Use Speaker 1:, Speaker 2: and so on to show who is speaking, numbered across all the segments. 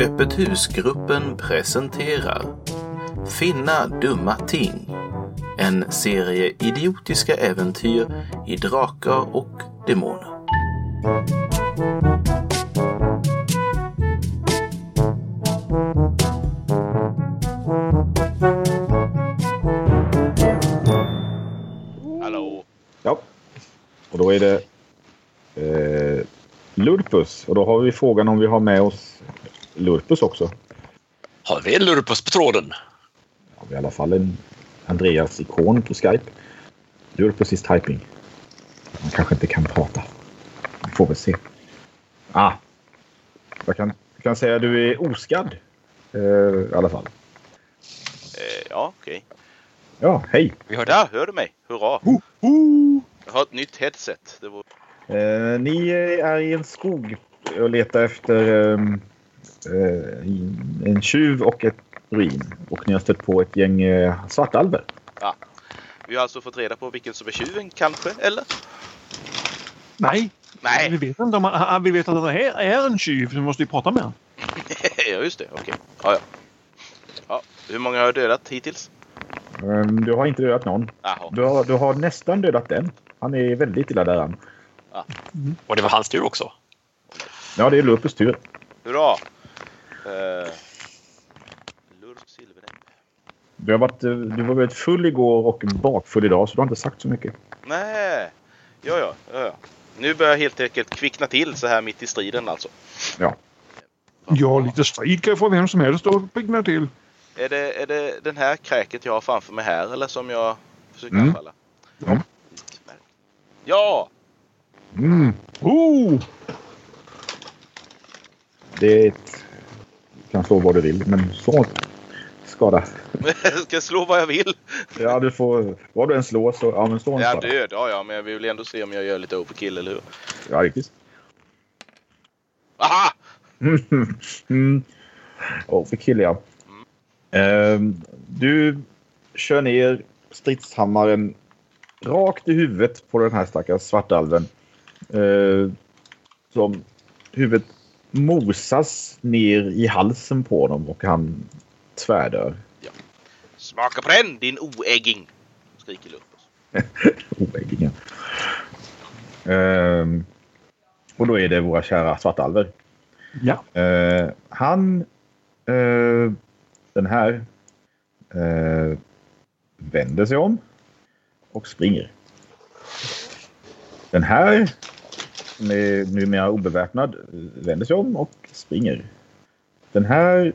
Speaker 1: Öppet husgruppen presenterar Finna dumma ting. En serie idiotiska äventyr i drakar och demoner.
Speaker 2: Hallå.
Speaker 3: Ja. Och då är det eh, Lurpus. Och då har vi frågan om vi har med oss Lurpus också.
Speaker 2: Har vi en Lurpus på tråden?
Speaker 3: Har vi i alla fall en Andreas-ikon på Skype. Lurpus is typing. Han kanske inte kan prata. Vi får väl se. Ah. Jag kan, jag kan säga att du är oskadd. Eh, I alla fall.
Speaker 4: Eh, ja, okej.
Speaker 3: Ja, hej.
Speaker 2: Vi hörde.
Speaker 4: Där hör du mig! Hurra! Jag har ett nytt headset. Det var...
Speaker 3: Eh, ni eh, är i en skog och letar efter ehm, eh, en tjuv och ett ruin. Och ni har stött på ett gäng eh, svartalver.
Speaker 4: Vi har alltså fått reda på vilken som är tjuven, kanske? Eller?
Speaker 5: Nej, vi
Speaker 4: Nej!
Speaker 5: vet inte om han, han- vi vet att han är, är en tjuv. så Vi måste ju prata med honom.
Speaker 4: ja, just det. Okej. Ja, ja. ja, hur många har jag dödat hittills?
Speaker 3: Ehm, du har inte dödat någon.
Speaker 4: Jaha.
Speaker 3: Du har, du har nästan dödat den. Han är väldigt illa däran.
Speaker 2: Och det var hans tur också.
Speaker 3: Ja, det är Lupus tur.
Speaker 4: Hurra! Eh, Lurp silvernäbb.
Speaker 3: Du, har varit, eh, du var väldigt full igår och bakfull idag, så du har inte sagt så mycket.
Speaker 4: Nej! Ja, ja, ja, ja. Nu börjar jag helt enkelt kvickna till så här mitt i striden alltså.
Speaker 3: Ja.
Speaker 5: Ja, lite strid kan jag få vem som helst och piggna till.
Speaker 4: Är det, är det den här kräket jag har framför mig här eller som jag försöker
Speaker 3: Mm.
Speaker 4: anfalla?
Speaker 3: Ja.
Speaker 4: Utmärkt. Ja!
Speaker 3: Mm.
Speaker 5: Oh!
Speaker 3: Det är ett... Du kan slå vad du vill, men slå skada.
Speaker 4: Ska jag slå vad jag vill?
Speaker 3: Ja, du får... Vad du än slår så... Ja, men slå en
Speaker 4: Jag är
Speaker 3: skada.
Speaker 4: död, ja, ja, men jag vill ändå se om jag gör lite overkill, eller hur?
Speaker 3: Ja, riktigt.
Speaker 4: Aha!
Speaker 3: mm. Och för kill, ja. Ehm, du kör ner stridshammaren rakt i huvudet på den här stackars svartalven. Ehm, som huvudet mosas ner i halsen på honom och han tvärdör.
Speaker 4: Smaka på den, din oägging! Skriker Lupus.
Speaker 3: Oäggingen. Ehm, och då är det våra kära svartalver.
Speaker 5: Ja.
Speaker 3: Eh, han, eh, den här, eh, vänder sig om och springer. Den här, som är numera obeväpnad, eh, vänder sig om och springer. Den här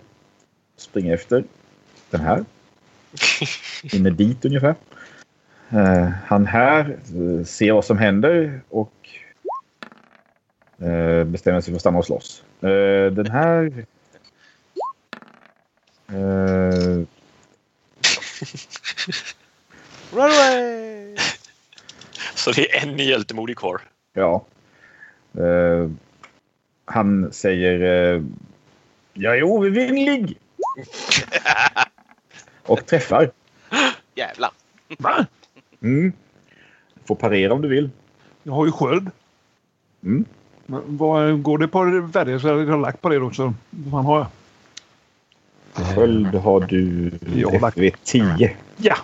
Speaker 3: springer efter den här. Hinner dit ungefär. Eh, han här eh, ser vad som händer och eh, bestämmer sig för att stanna och slåss. Eh, den här... Eh,
Speaker 4: Run away!
Speaker 2: Så det är en hjältemodig kvar.
Speaker 3: ja. Eh, han säger... Eh, jag är oövervinnlig! och träffar.
Speaker 4: Jävlar!
Speaker 5: Va?
Speaker 3: Mm. Får parera om du vill.
Speaker 5: Jag har ju sköld.
Speaker 3: Mm.
Speaker 5: Men vad går det på det värde så jag har lagt på det då? Så fan har jag?
Speaker 3: Sköld har du
Speaker 5: Jag har lagt-
Speaker 3: FV10.
Speaker 5: Ja.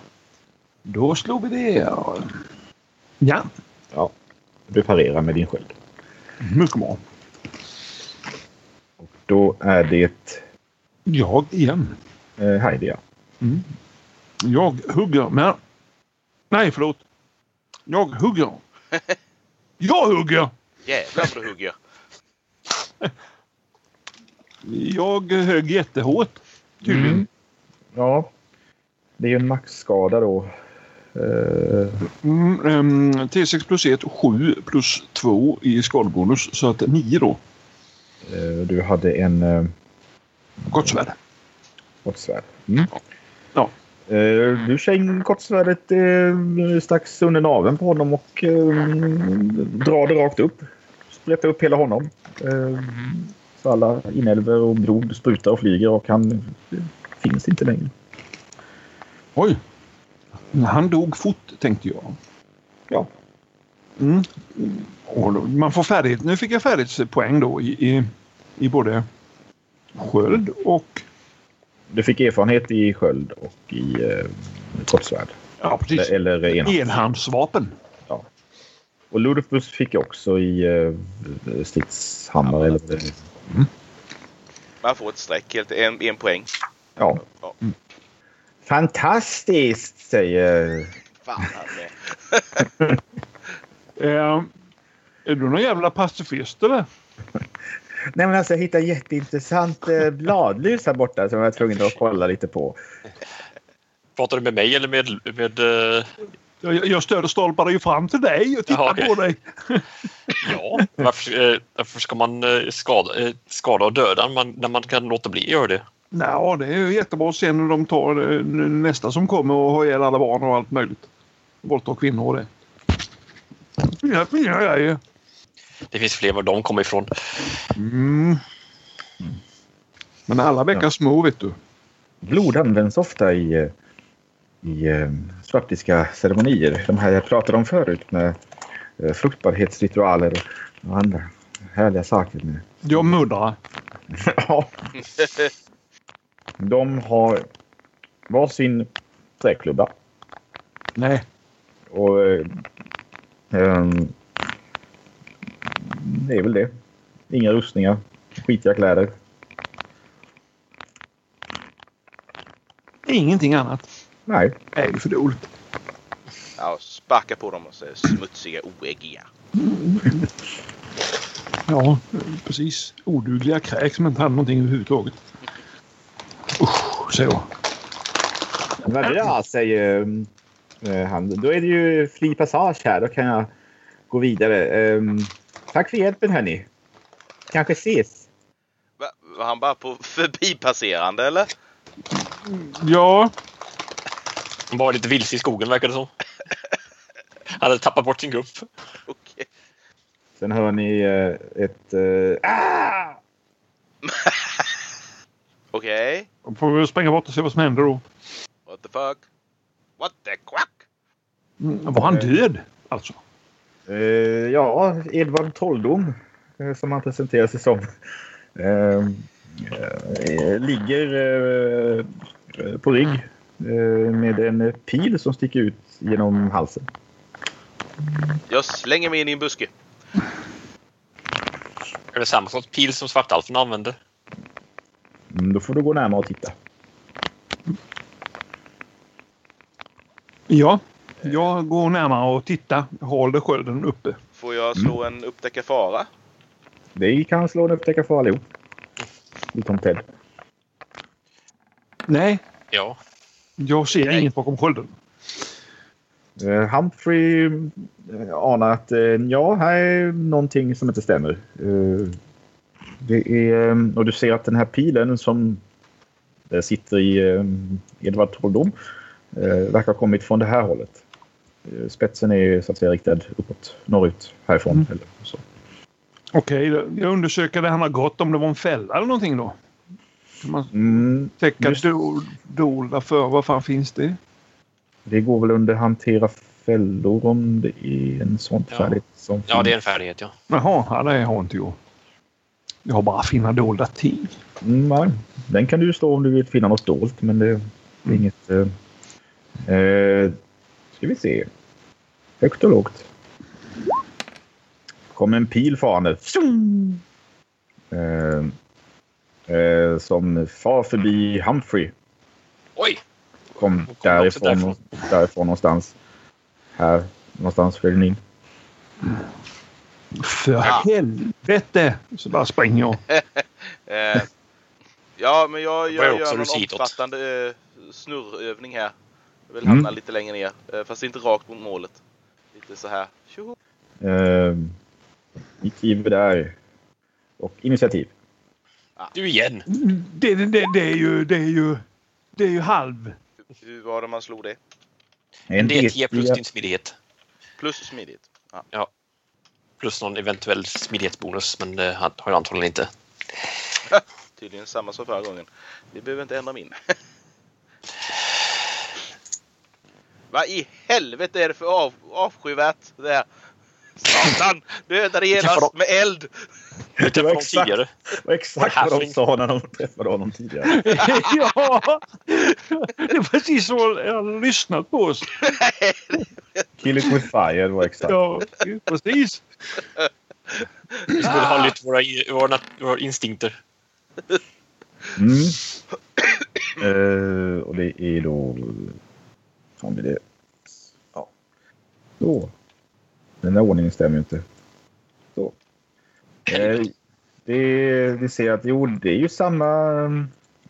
Speaker 5: Då slog vi det. Ja,
Speaker 3: Du parerar med din sköld.
Speaker 5: mycket bra.
Speaker 3: Då är det
Speaker 5: Jag igen.
Speaker 3: eh, Heidi. ja.
Speaker 5: Jag hugger med... Nej, förlåt. Jag hugger. Jag hugger!
Speaker 4: Jävlar vad du hugger!
Speaker 5: Jag högg jättehårt. Tydligen.
Speaker 3: Mm. Ja. Det är ju en maxskada då. Eh,
Speaker 5: Mm, ehm, T6 plus 1, 7 plus 2 i skadebonus. Så att 9 då.
Speaker 3: eh, du hade en... Eh,
Speaker 5: Gott svärd.
Speaker 3: Kortsvärd.
Speaker 5: Ja.
Speaker 3: Mm. Eh, Du känner kortsvärdet eh, strax under naveln på honom och eh, drar det rakt upp. Sprättar upp hela honom. Eh, så alla inälvor och blod sprutar och flyger och han eh, finns inte längre.
Speaker 5: Oj! Han dog fort tänkte jag.
Speaker 3: Ja.
Speaker 5: Mm. Och då, man får färdighet. Nu fick jag färdighetspoäng då i, i, i både sköld och...
Speaker 3: Du fick erfarenhet i sköld och i eh, kortsvärd.
Speaker 5: Ja, precis.
Speaker 3: Eller enarm.
Speaker 5: Enhandsvapen.
Speaker 3: Och Ludopus fick också i eh, stridshammare. Eller,
Speaker 4: Man får ett streck, helt en, en poäng.
Speaker 3: ja. Mm.
Speaker 4: Ja.
Speaker 3: Fantastiskt, säger...
Speaker 4: Fan, han är-
Speaker 5: Eh, är du någon jävla pacifist eller?
Speaker 3: Nej, men alltså, jag hittade jätteintressant eh, bladlus här borta som jag var tvungen att kolla lite på.
Speaker 2: Pratar du med mig eller med... med eh,
Speaker 5: Jag, jag stöder stolpar ju fram till dig och tittar
Speaker 2: Jaha, okej.
Speaker 5: på dig.
Speaker 2: ja, varför, eh, varför ska man eh, skada, eh, skada och döda när man, när man kan låta bli att göra det?
Speaker 5: Ja, det är ju jättebra sen när de tar eh, n- nästa som kommer och har ihjäl alla barn och allt möjligt. Våldtar kvinnor och det. Fina, fina grejer.
Speaker 2: Det finns fler var de kommer ifrån.
Speaker 5: Mm. Men alla bäckar små vet du.
Speaker 3: Blod används ofta i, eh, i eh, svartiska ceremonier. De här jag pratade om förut med eh, fruktbarhetsritualer och andra härliga saker. Med.
Speaker 5: Jag muddrar.
Speaker 3: Ja. De har varsin träklubba.
Speaker 5: Nej.
Speaker 3: Och, eh, ehm, det är väl det. Inga rustningar, skitiga kläder.
Speaker 5: Ingenting annat.
Speaker 3: Nej.
Speaker 5: Det är ju för dåligt.
Speaker 4: Ja, sparka på dem och säger smutsiga oäggiga.
Speaker 5: Ja, precis. Odugliga kräk som inte hade någonting överhuvudtaget. Usch, säger jag.
Speaker 3: Vad bra, säger eh, han. Då är det ju fri passage här. Då kan jag gå vidare. Ehm, tack för hjälpen, hörni. Kanske ses.
Speaker 4: Va, var han bara på förbipasserande eller?
Speaker 5: Ja,
Speaker 2: De var lite vilse i skogen verkar det som. Han hade tappat bort sin grupp.
Speaker 4: Okej.
Speaker 3: Sen hör ni eh, ett... eh, ah!
Speaker 4: Okej.
Speaker 5: då får vi springa bort och se vad som händer då.
Speaker 4: What the fuck? What the quack?
Speaker 5: Mm, Var han död? Alltså.
Speaker 3: Eh, ja, Edvard Trolldom, eh, som han presenterar sig som, eh, eh, ligger eh, eh, på rygg eh, med en eh, pil som sticker ut genom halsen.
Speaker 4: Jag slänger mig in i en buske.
Speaker 2: Är det samma sorts pil som svartalfen använde?
Speaker 3: Mm, då får du gå närmare och titta.
Speaker 5: Ja, Eh. jag går närmare och tittar. Jag Håller skölden uppe.
Speaker 4: Får jag slå en upptäcka fara?
Speaker 3: Det kan slå en upptäcka för allihop. Utom Ted.
Speaker 5: Nej,
Speaker 2: Ja.
Speaker 5: jag ser
Speaker 2: Nej.
Speaker 5: inget bakom skölden.
Speaker 3: Eh, Humphrey eh, anar att eh, ja, här är någonting som inte stämmer. Eh, det är, eh, och du ser att den här pilen som eh, sitter i eh, Edvard Trolldom eh, verkar ha kommit från det här hållet. Eh, spetsen är ju så att säga riktad uppåt, norrut härifrån.
Speaker 5: Mm.
Speaker 3: Eller så.
Speaker 5: Okej, då- jag undersöker där han har gått om det var en fälla eller någonting då. Kan man
Speaker 3: Mm,
Speaker 5: täcka
Speaker 3: Just-
Speaker 5: do, dolda för? Vad fan finns det?
Speaker 3: det går väl under hantera fällor om det är en sån
Speaker 2: Ja.
Speaker 3: färdighet som
Speaker 2: ja, det är en färdighet. Ja.
Speaker 5: Jaha, ja, det har inte jag. Jag har bara fina dolda ting.
Speaker 3: Mm, nej. Den kan du slå om du vill finna något dolt, men det är
Speaker 2: Mm.
Speaker 3: inget... Eh, eh, ska vi se. Högt och lågt. kom en pil farande. Tjong! Eh, eh, som far förbi Humphrey.
Speaker 2: Oj!
Speaker 3: Kom,
Speaker 2: också
Speaker 3: därifrån,
Speaker 2: därifrån.
Speaker 3: därifrån. någonstans. Här någonstans föll den in.
Speaker 5: För helvete! Så bara springer jag.
Speaker 4: Eh, ja, men jag,
Speaker 2: Börjar
Speaker 4: jag
Speaker 2: också
Speaker 4: gör
Speaker 2: rusa
Speaker 4: någon
Speaker 2: hitåt.
Speaker 4: omfattande eh, snurrövning här. Jag vill
Speaker 3: Mm.
Speaker 4: hamna lite längre ner. Eh, fast inte rakt mot målet. Lite så här. Tjoho!
Speaker 3: Eh, gick där. Och initiativ.
Speaker 2: Du igen!
Speaker 5: Det, det, det, det är ju... Det är ju... Det är ju halv.
Speaker 4: Hur var det man slog det?
Speaker 3: En
Speaker 2: Det är 10 plus
Speaker 3: D10.
Speaker 2: din smidighet.
Speaker 4: Plus smidigt. Ja.
Speaker 2: Plus någon eventuell smidighetsbonus, men det har jag antagligen inte.
Speaker 4: Tydligen samma som förra gången. Vi behöver inte ändra min. Vad i helvete är det för av, avskyvärt det här? Satan! Dödade
Speaker 2: Träffar
Speaker 4: genast
Speaker 2: dem.
Speaker 4: med eld!
Speaker 2: Vi träffade honom
Speaker 3: exakt.
Speaker 2: tidigare.
Speaker 3: Det var exakt vad de sa när de träffade honom tidigare.
Speaker 5: ja, det är precis så jag hade lyssnat på oss.
Speaker 3: Kill it with fire det var exakt.
Speaker 5: Ja, precis.
Speaker 2: Vi skulle ha
Speaker 3: Ah.
Speaker 2: lite våra, våra, nat- våra instinkter.
Speaker 3: Mm. Eh, och det är då... Fan blir det? Ja. Då. Den där ordningen stämmer ju inte. Så. Eh, det, vi ser att jo, det är ju samma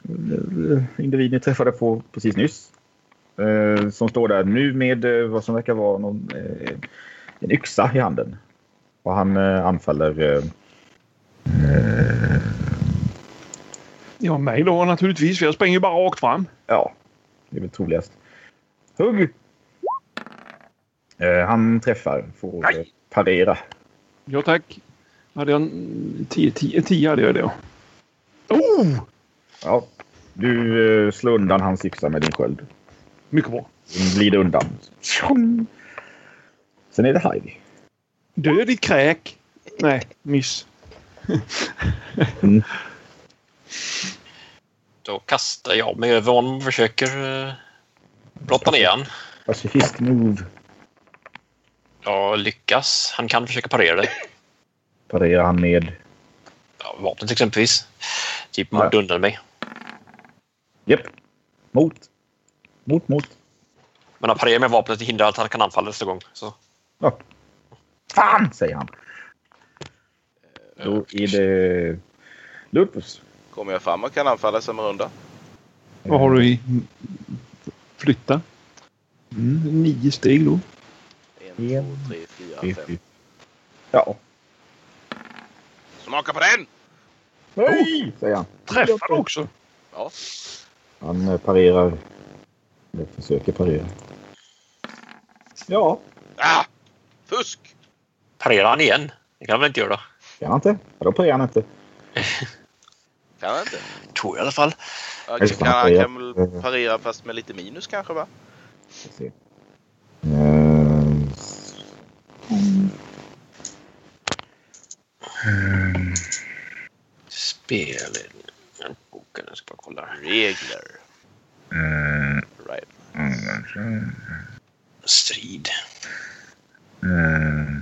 Speaker 3: eh, individ ni träffade på precis nyss. Eh, som står där nu med eh, vad som verkar vara någon, eh, en yxa i handen. Och han eh, anfaller eh,
Speaker 5: Ja, mig då naturligtvis. för Jag springer bara rakt fram.
Speaker 3: Ja, det är väl troligast. Hugg! Eh, han träffar. Får eh, parera.
Speaker 5: Ja, tack. Hade jag en- tio, tio, tio hade jag det. Oh!
Speaker 3: Ja, du eh, slår undan hans yxa med din sköld.
Speaker 5: Mycket bra.
Speaker 3: Den glider undan. Tjong! Sen är det Heidi.
Speaker 5: Död i kräk. Nej, miss.
Speaker 2: Då kastar jag mig över honom och försöker eh, brotta ner honom.
Speaker 3: Pacifist move.
Speaker 2: Jag lyckas. Han kan försöka parera det.
Speaker 3: Parerar han med.
Speaker 2: Ja, vapnet exempelvis. Typ mot
Speaker 3: Ja.
Speaker 2: undan mig.
Speaker 3: Japp. Mot. Mot, mot.
Speaker 2: Men han parerar med vapnet och hindrar att han kan anfalla nästa gång. Så. eh,
Speaker 3: Ja. Fan, säger han. Då är det Lupus.
Speaker 4: Kommer jag fram och kan anfalla som en runda?
Speaker 5: Vad har du i flytta? Mm, nio steg då.
Speaker 4: En, två, tre, fyra, fem.
Speaker 3: Ja.
Speaker 4: Smaka på den!
Speaker 3: Nej! Säger han.
Speaker 5: Träffar också.
Speaker 4: Ja,
Speaker 3: Han eh, parerar. Eller försöker parera. Ja.
Speaker 4: ah! Fusk!
Speaker 2: Parerar han igen? Det kan han väl inte göra?
Speaker 3: Kan han inte? Ja, då parerar han inte.
Speaker 4: Kan han inte?
Speaker 2: Tror jag i alla fall.
Speaker 4: Ja,
Speaker 3: Just
Speaker 4: Kan,
Speaker 3: det,
Speaker 4: han
Speaker 3: ja.
Speaker 4: kan väl parera fast med lite minus kanske va?
Speaker 3: Ska se. Ehm.
Speaker 2: Spel... Boken, jag ska bara kolla. här.
Speaker 4: Regler.
Speaker 3: Ehm.
Speaker 4: Right.
Speaker 2: Strid.
Speaker 3: Ehm.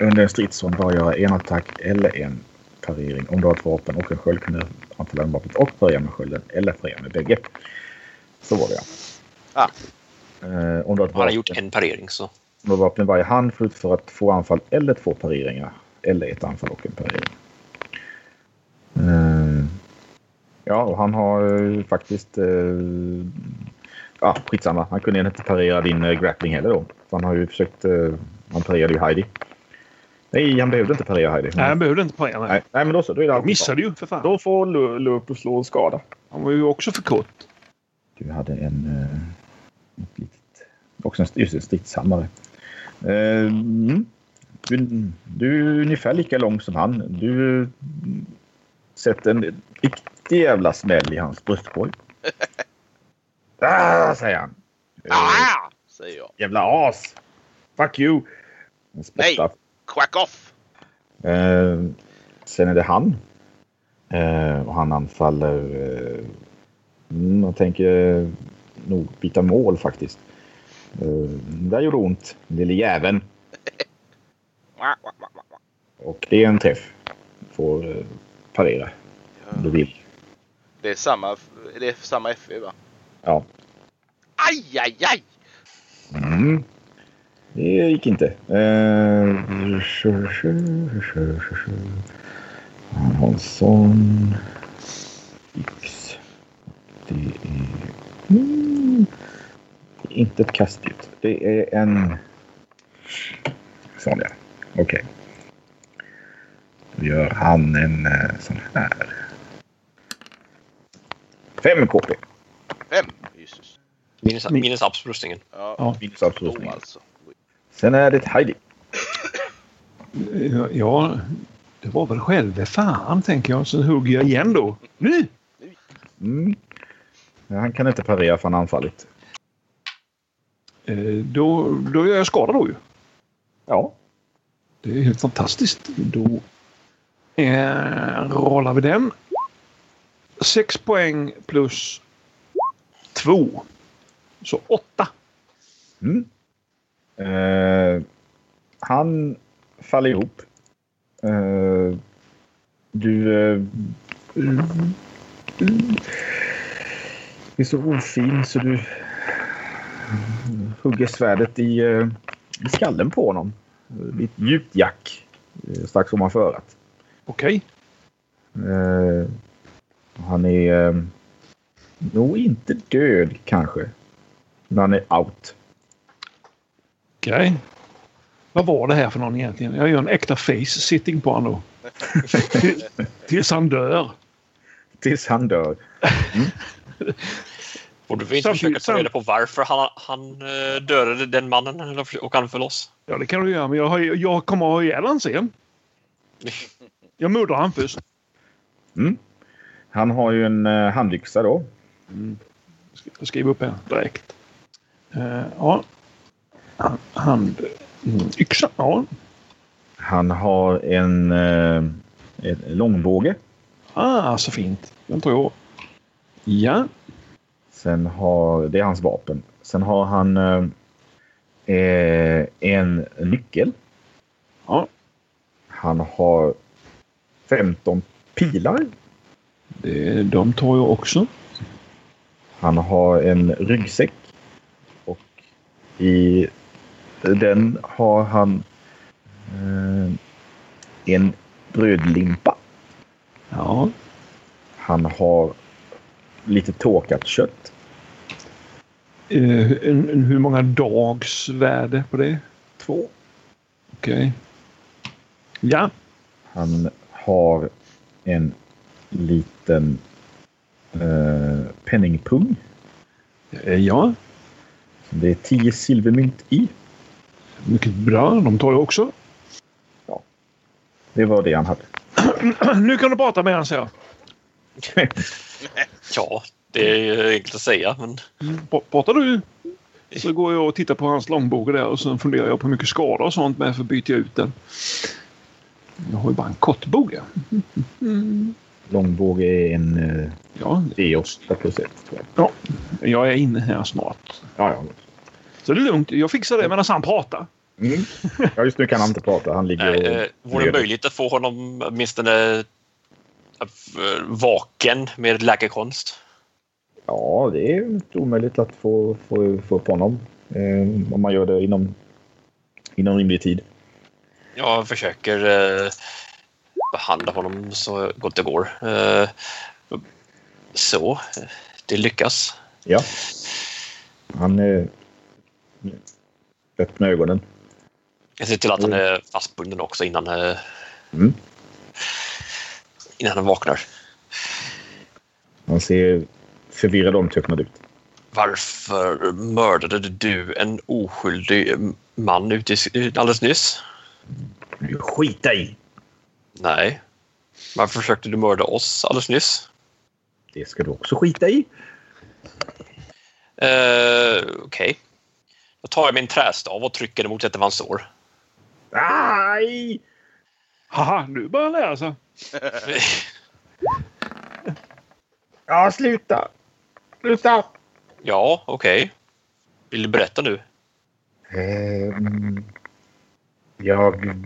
Speaker 3: Under en stridsrond bara göra en attack eller en parering. Om du har ett vapen och en sköld kan du anfalla med vapnet och parera med skölden eller parera med bägge. Så var det ja.
Speaker 4: Ah.
Speaker 3: Ehm, om du har ett
Speaker 2: Han har
Speaker 3: vapen.
Speaker 2: gjort en parering så.
Speaker 3: med vapen i varje hand får utföra två anfall eller två pareringar. Eller ett anfall och en parering. Eh, ja, och han har eh, faktiskt... Uh, ja, skitsamma. Han kunde inte parera din eh, grappling heller då. För han har ju försökt... eh, han parerade ju Heidi. Nej, han behövde inte parera Heidi.
Speaker 5: Nej, han behövde inte parera. Nej.
Speaker 3: nej, nej, men då så. Då är det
Speaker 5: Jag
Speaker 3: allt
Speaker 5: missade ju för
Speaker 3: bra.
Speaker 5: fan.
Speaker 3: Då får Lu- Lupus slå en skada.
Speaker 5: Han var ju också för kort.
Speaker 3: Du hade en... Eh, ett litet, också en, just en stridshammare. Eh, mm. du, du är ungefär lika lång som han. Du eh, sätter en riktig jävla smäll i hans bröstkorg. ah, säger han. Eh,
Speaker 4: Ah! Säger jag.
Speaker 3: jävla as! Fuck you! Han spottar.
Speaker 4: Quack off!
Speaker 3: Eh, sen är det han. Eh, och han anfaller... Eh, mm, jag tänker eh, nog byta mål faktiskt. Eh, där gjorde ont, lille jäveln.
Speaker 4: Wah, wah, wah, wah, wah.
Speaker 3: Och det är en träff. Får eh, parera om du vill.
Speaker 4: Det är samma, det är samma FV va?
Speaker 3: Ja.
Speaker 4: Aj, aj, aj!
Speaker 3: Mm. Det gick inte. Eh, han har en sån. X. Det är... Mm. Det är inte ett kastspjut. Det är en... Sån ja. Okej. Då gör han en eh, sån här. 5 KP.
Speaker 4: Fem! Jesus.
Speaker 2: Minus,
Speaker 3: Mm.
Speaker 5: Ni-
Speaker 2: minus abs på rustningen.
Speaker 4: Ja,
Speaker 5: Ja.
Speaker 3: Minus
Speaker 4: då
Speaker 3: avslutning.
Speaker 4: alltså.
Speaker 3: Sen är det Heidi.
Speaker 5: Ja, det var väl själve fan tänker jag. Sen hugger jag igen då. Nu!
Speaker 3: Mm. Ja, Han kan inte parera för han har anfallit.
Speaker 5: Eh, Då, då gör jag skada då ju.
Speaker 3: Ja.
Speaker 5: Det är helt fantastiskt. Då Eh, rollar vi den. Sex poäng plus två. Så åtta.
Speaker 3: Mm. Eh, han faller ihop. Eh, du... Eh, mm, mm. är så ofin så du hugger svärdet i, eh, i skallen på honom. Eh, Ditt djupt jack eh, strax ovanför örat.
Speaker 5: Okej.
Speaker 3: Eh, han är eh, nog inte död kanske. Men han är out.
Speaker 5: Okej. Vad var det här för någon egentligen? Jag gör en äkta face-sitting på honom. Tills han dör.
Speaker 3: Tills han dör.
Speaker 2: Borde vi inte
Speaker 5: Samtidigt-
Speaker 2: försöka ta reda på varför han, han eh, dödade den mannen eller- och han föll loss?
Speaker 5: Ja, det kan du göra, men jag, har, ju- jag kommer ha ihjäl han sen. Jag mördar han först.
Speaker 3: Mm. Han har ju en eh, handyxa då.
Speaker 5: Jag skriver upp här direkt. Eh, ja. Han- Hand... mm, Yxa. Ja.
Speaker 3: Han har en, eh, en långbåge.
Speaker 5: Ah, så fint. Den tar jag. Ja.
Speaker 3: Sen har, det är hans vapen. Sen har han eh, eh, en nyckel.
Speaker 5: Ja.
Speaker 3: Han har 15 pilar.
Speaker 5: Det, de tar jag också.
Speaker 3: Han har en ryggsäck. Och i den har han eh, en brödlimpa.
Speaker 5: Ja.
Speaker 3: Han har lite torkat kött.
Speaker 5: Eh, en, en, hur många dags värde på det?
Speaker 3: Två.
Speaker 5: Okej. Ja.
Speaker 3: Han har en liten eh, penningpung.
Speaker 5: Eh, Ja.
Speaker 3: Det är tio silvermynt i.
Speaker 5: Mycket bra. De tar jag också.
Speaker 3: Det var det han hade.
Speaker 5: nu kan du prata med honom, säger jag.
Speaker 2: Ja, det är ju enkelt att säga, men
Speaker 5: Pra- Pratar du? Så går jag och tittar på hans långbok där och sen funderar jag på hur mycket skada och sånt med för byter jag ut den. Jag har ju bara en kortbog.
Speaker 3: Långbåge är en eh,
Speaker 5: Ja,
Speaker 3: D8 plus 1. tror jag.
Speaker 5: jag är inne här snart.
Speaker 3: Ja,
Speaker 5: Så det är lugnt. Jag fixar det medan han pratar.
Speaker 3: ja. Mm. ja, just nu kan han inte prata. Han ligger
Speaker 2: nej,
Speaker 3: och...
Speaker 2: eh, vore det möjligt att få honom åtminstone eh, vaken med läkekonst?
Speaker 3: Ja, det är inte omöjligt att få, få, få upp honom. Eh, om man gör det inom, inom rimlig tid.
Speaker 2: Jag försöker eh, behandla honom så gott det går. Eh, så, eh, det lyckas.
Speaker 3: Ja. Han eh, öppnar ögonen.
Speaker 2: Jag ser till att han är fastbunden också innan, eh,
Speaker 3: Mm.
Speaker 2: innan han vaknar.
Speaker 3: Han ser förvirrad och omtöcknad ut.
Speaker 2: Varför mördade du en oskyldig man ute i, alldeles nyss?
Speaker 3: Skita i!
Speaker 2: Nej. Varför försökte du mörda oss alldeles nyss?
Speaker 3: Det ska du också skita i.
Speaker 2: Eh, Okej. Då tar jag min trästav och trycker den mot ett av hans sår.
Speaker 3: Aj!
Speaker 5: Haha, nu börjar han lära sig.
Speaker 3: Ja, sluta! Sluta!
Speaker 2: ja, okej. Vill du berätta nu?
Speaker 3: Ehm, jag...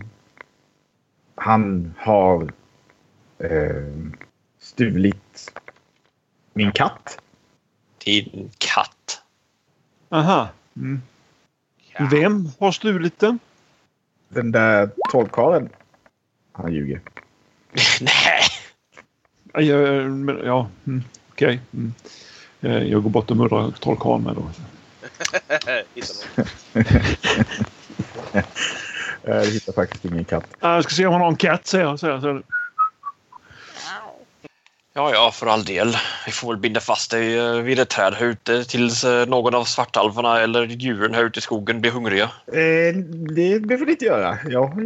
Speaker 3: Han har ehm, stulit min katt.
Speaker 2: Din katt.
Speaker 5: Aha. Mm. Vem har stulit den?
Speaker 3: Den där trollkarlen. Han ljuger.
Speaker 2: Nej!
Speaker 5: Ja, jag- men- ja. Mm. okej. Mm. Eh, Jag går bort och mördar trollkarlen med då.
Speaker 4: Hitta någon.
Speaker 3: Jag Eh, hittar faktiskt ingen katt.
Speaker 5: Ah, Jag ska se om han har en katt, säger jag. Säger jag. säger jag.
Speaker 2: Ja, ja, för all del. Vi får väl binda fast dig eh, vid ett träd här ute tills eh, någon av svartalvarna eller djuren här ute i skogen blir hungriga.
Speaker 3: Eh, det behöver ni inte göra. Jag,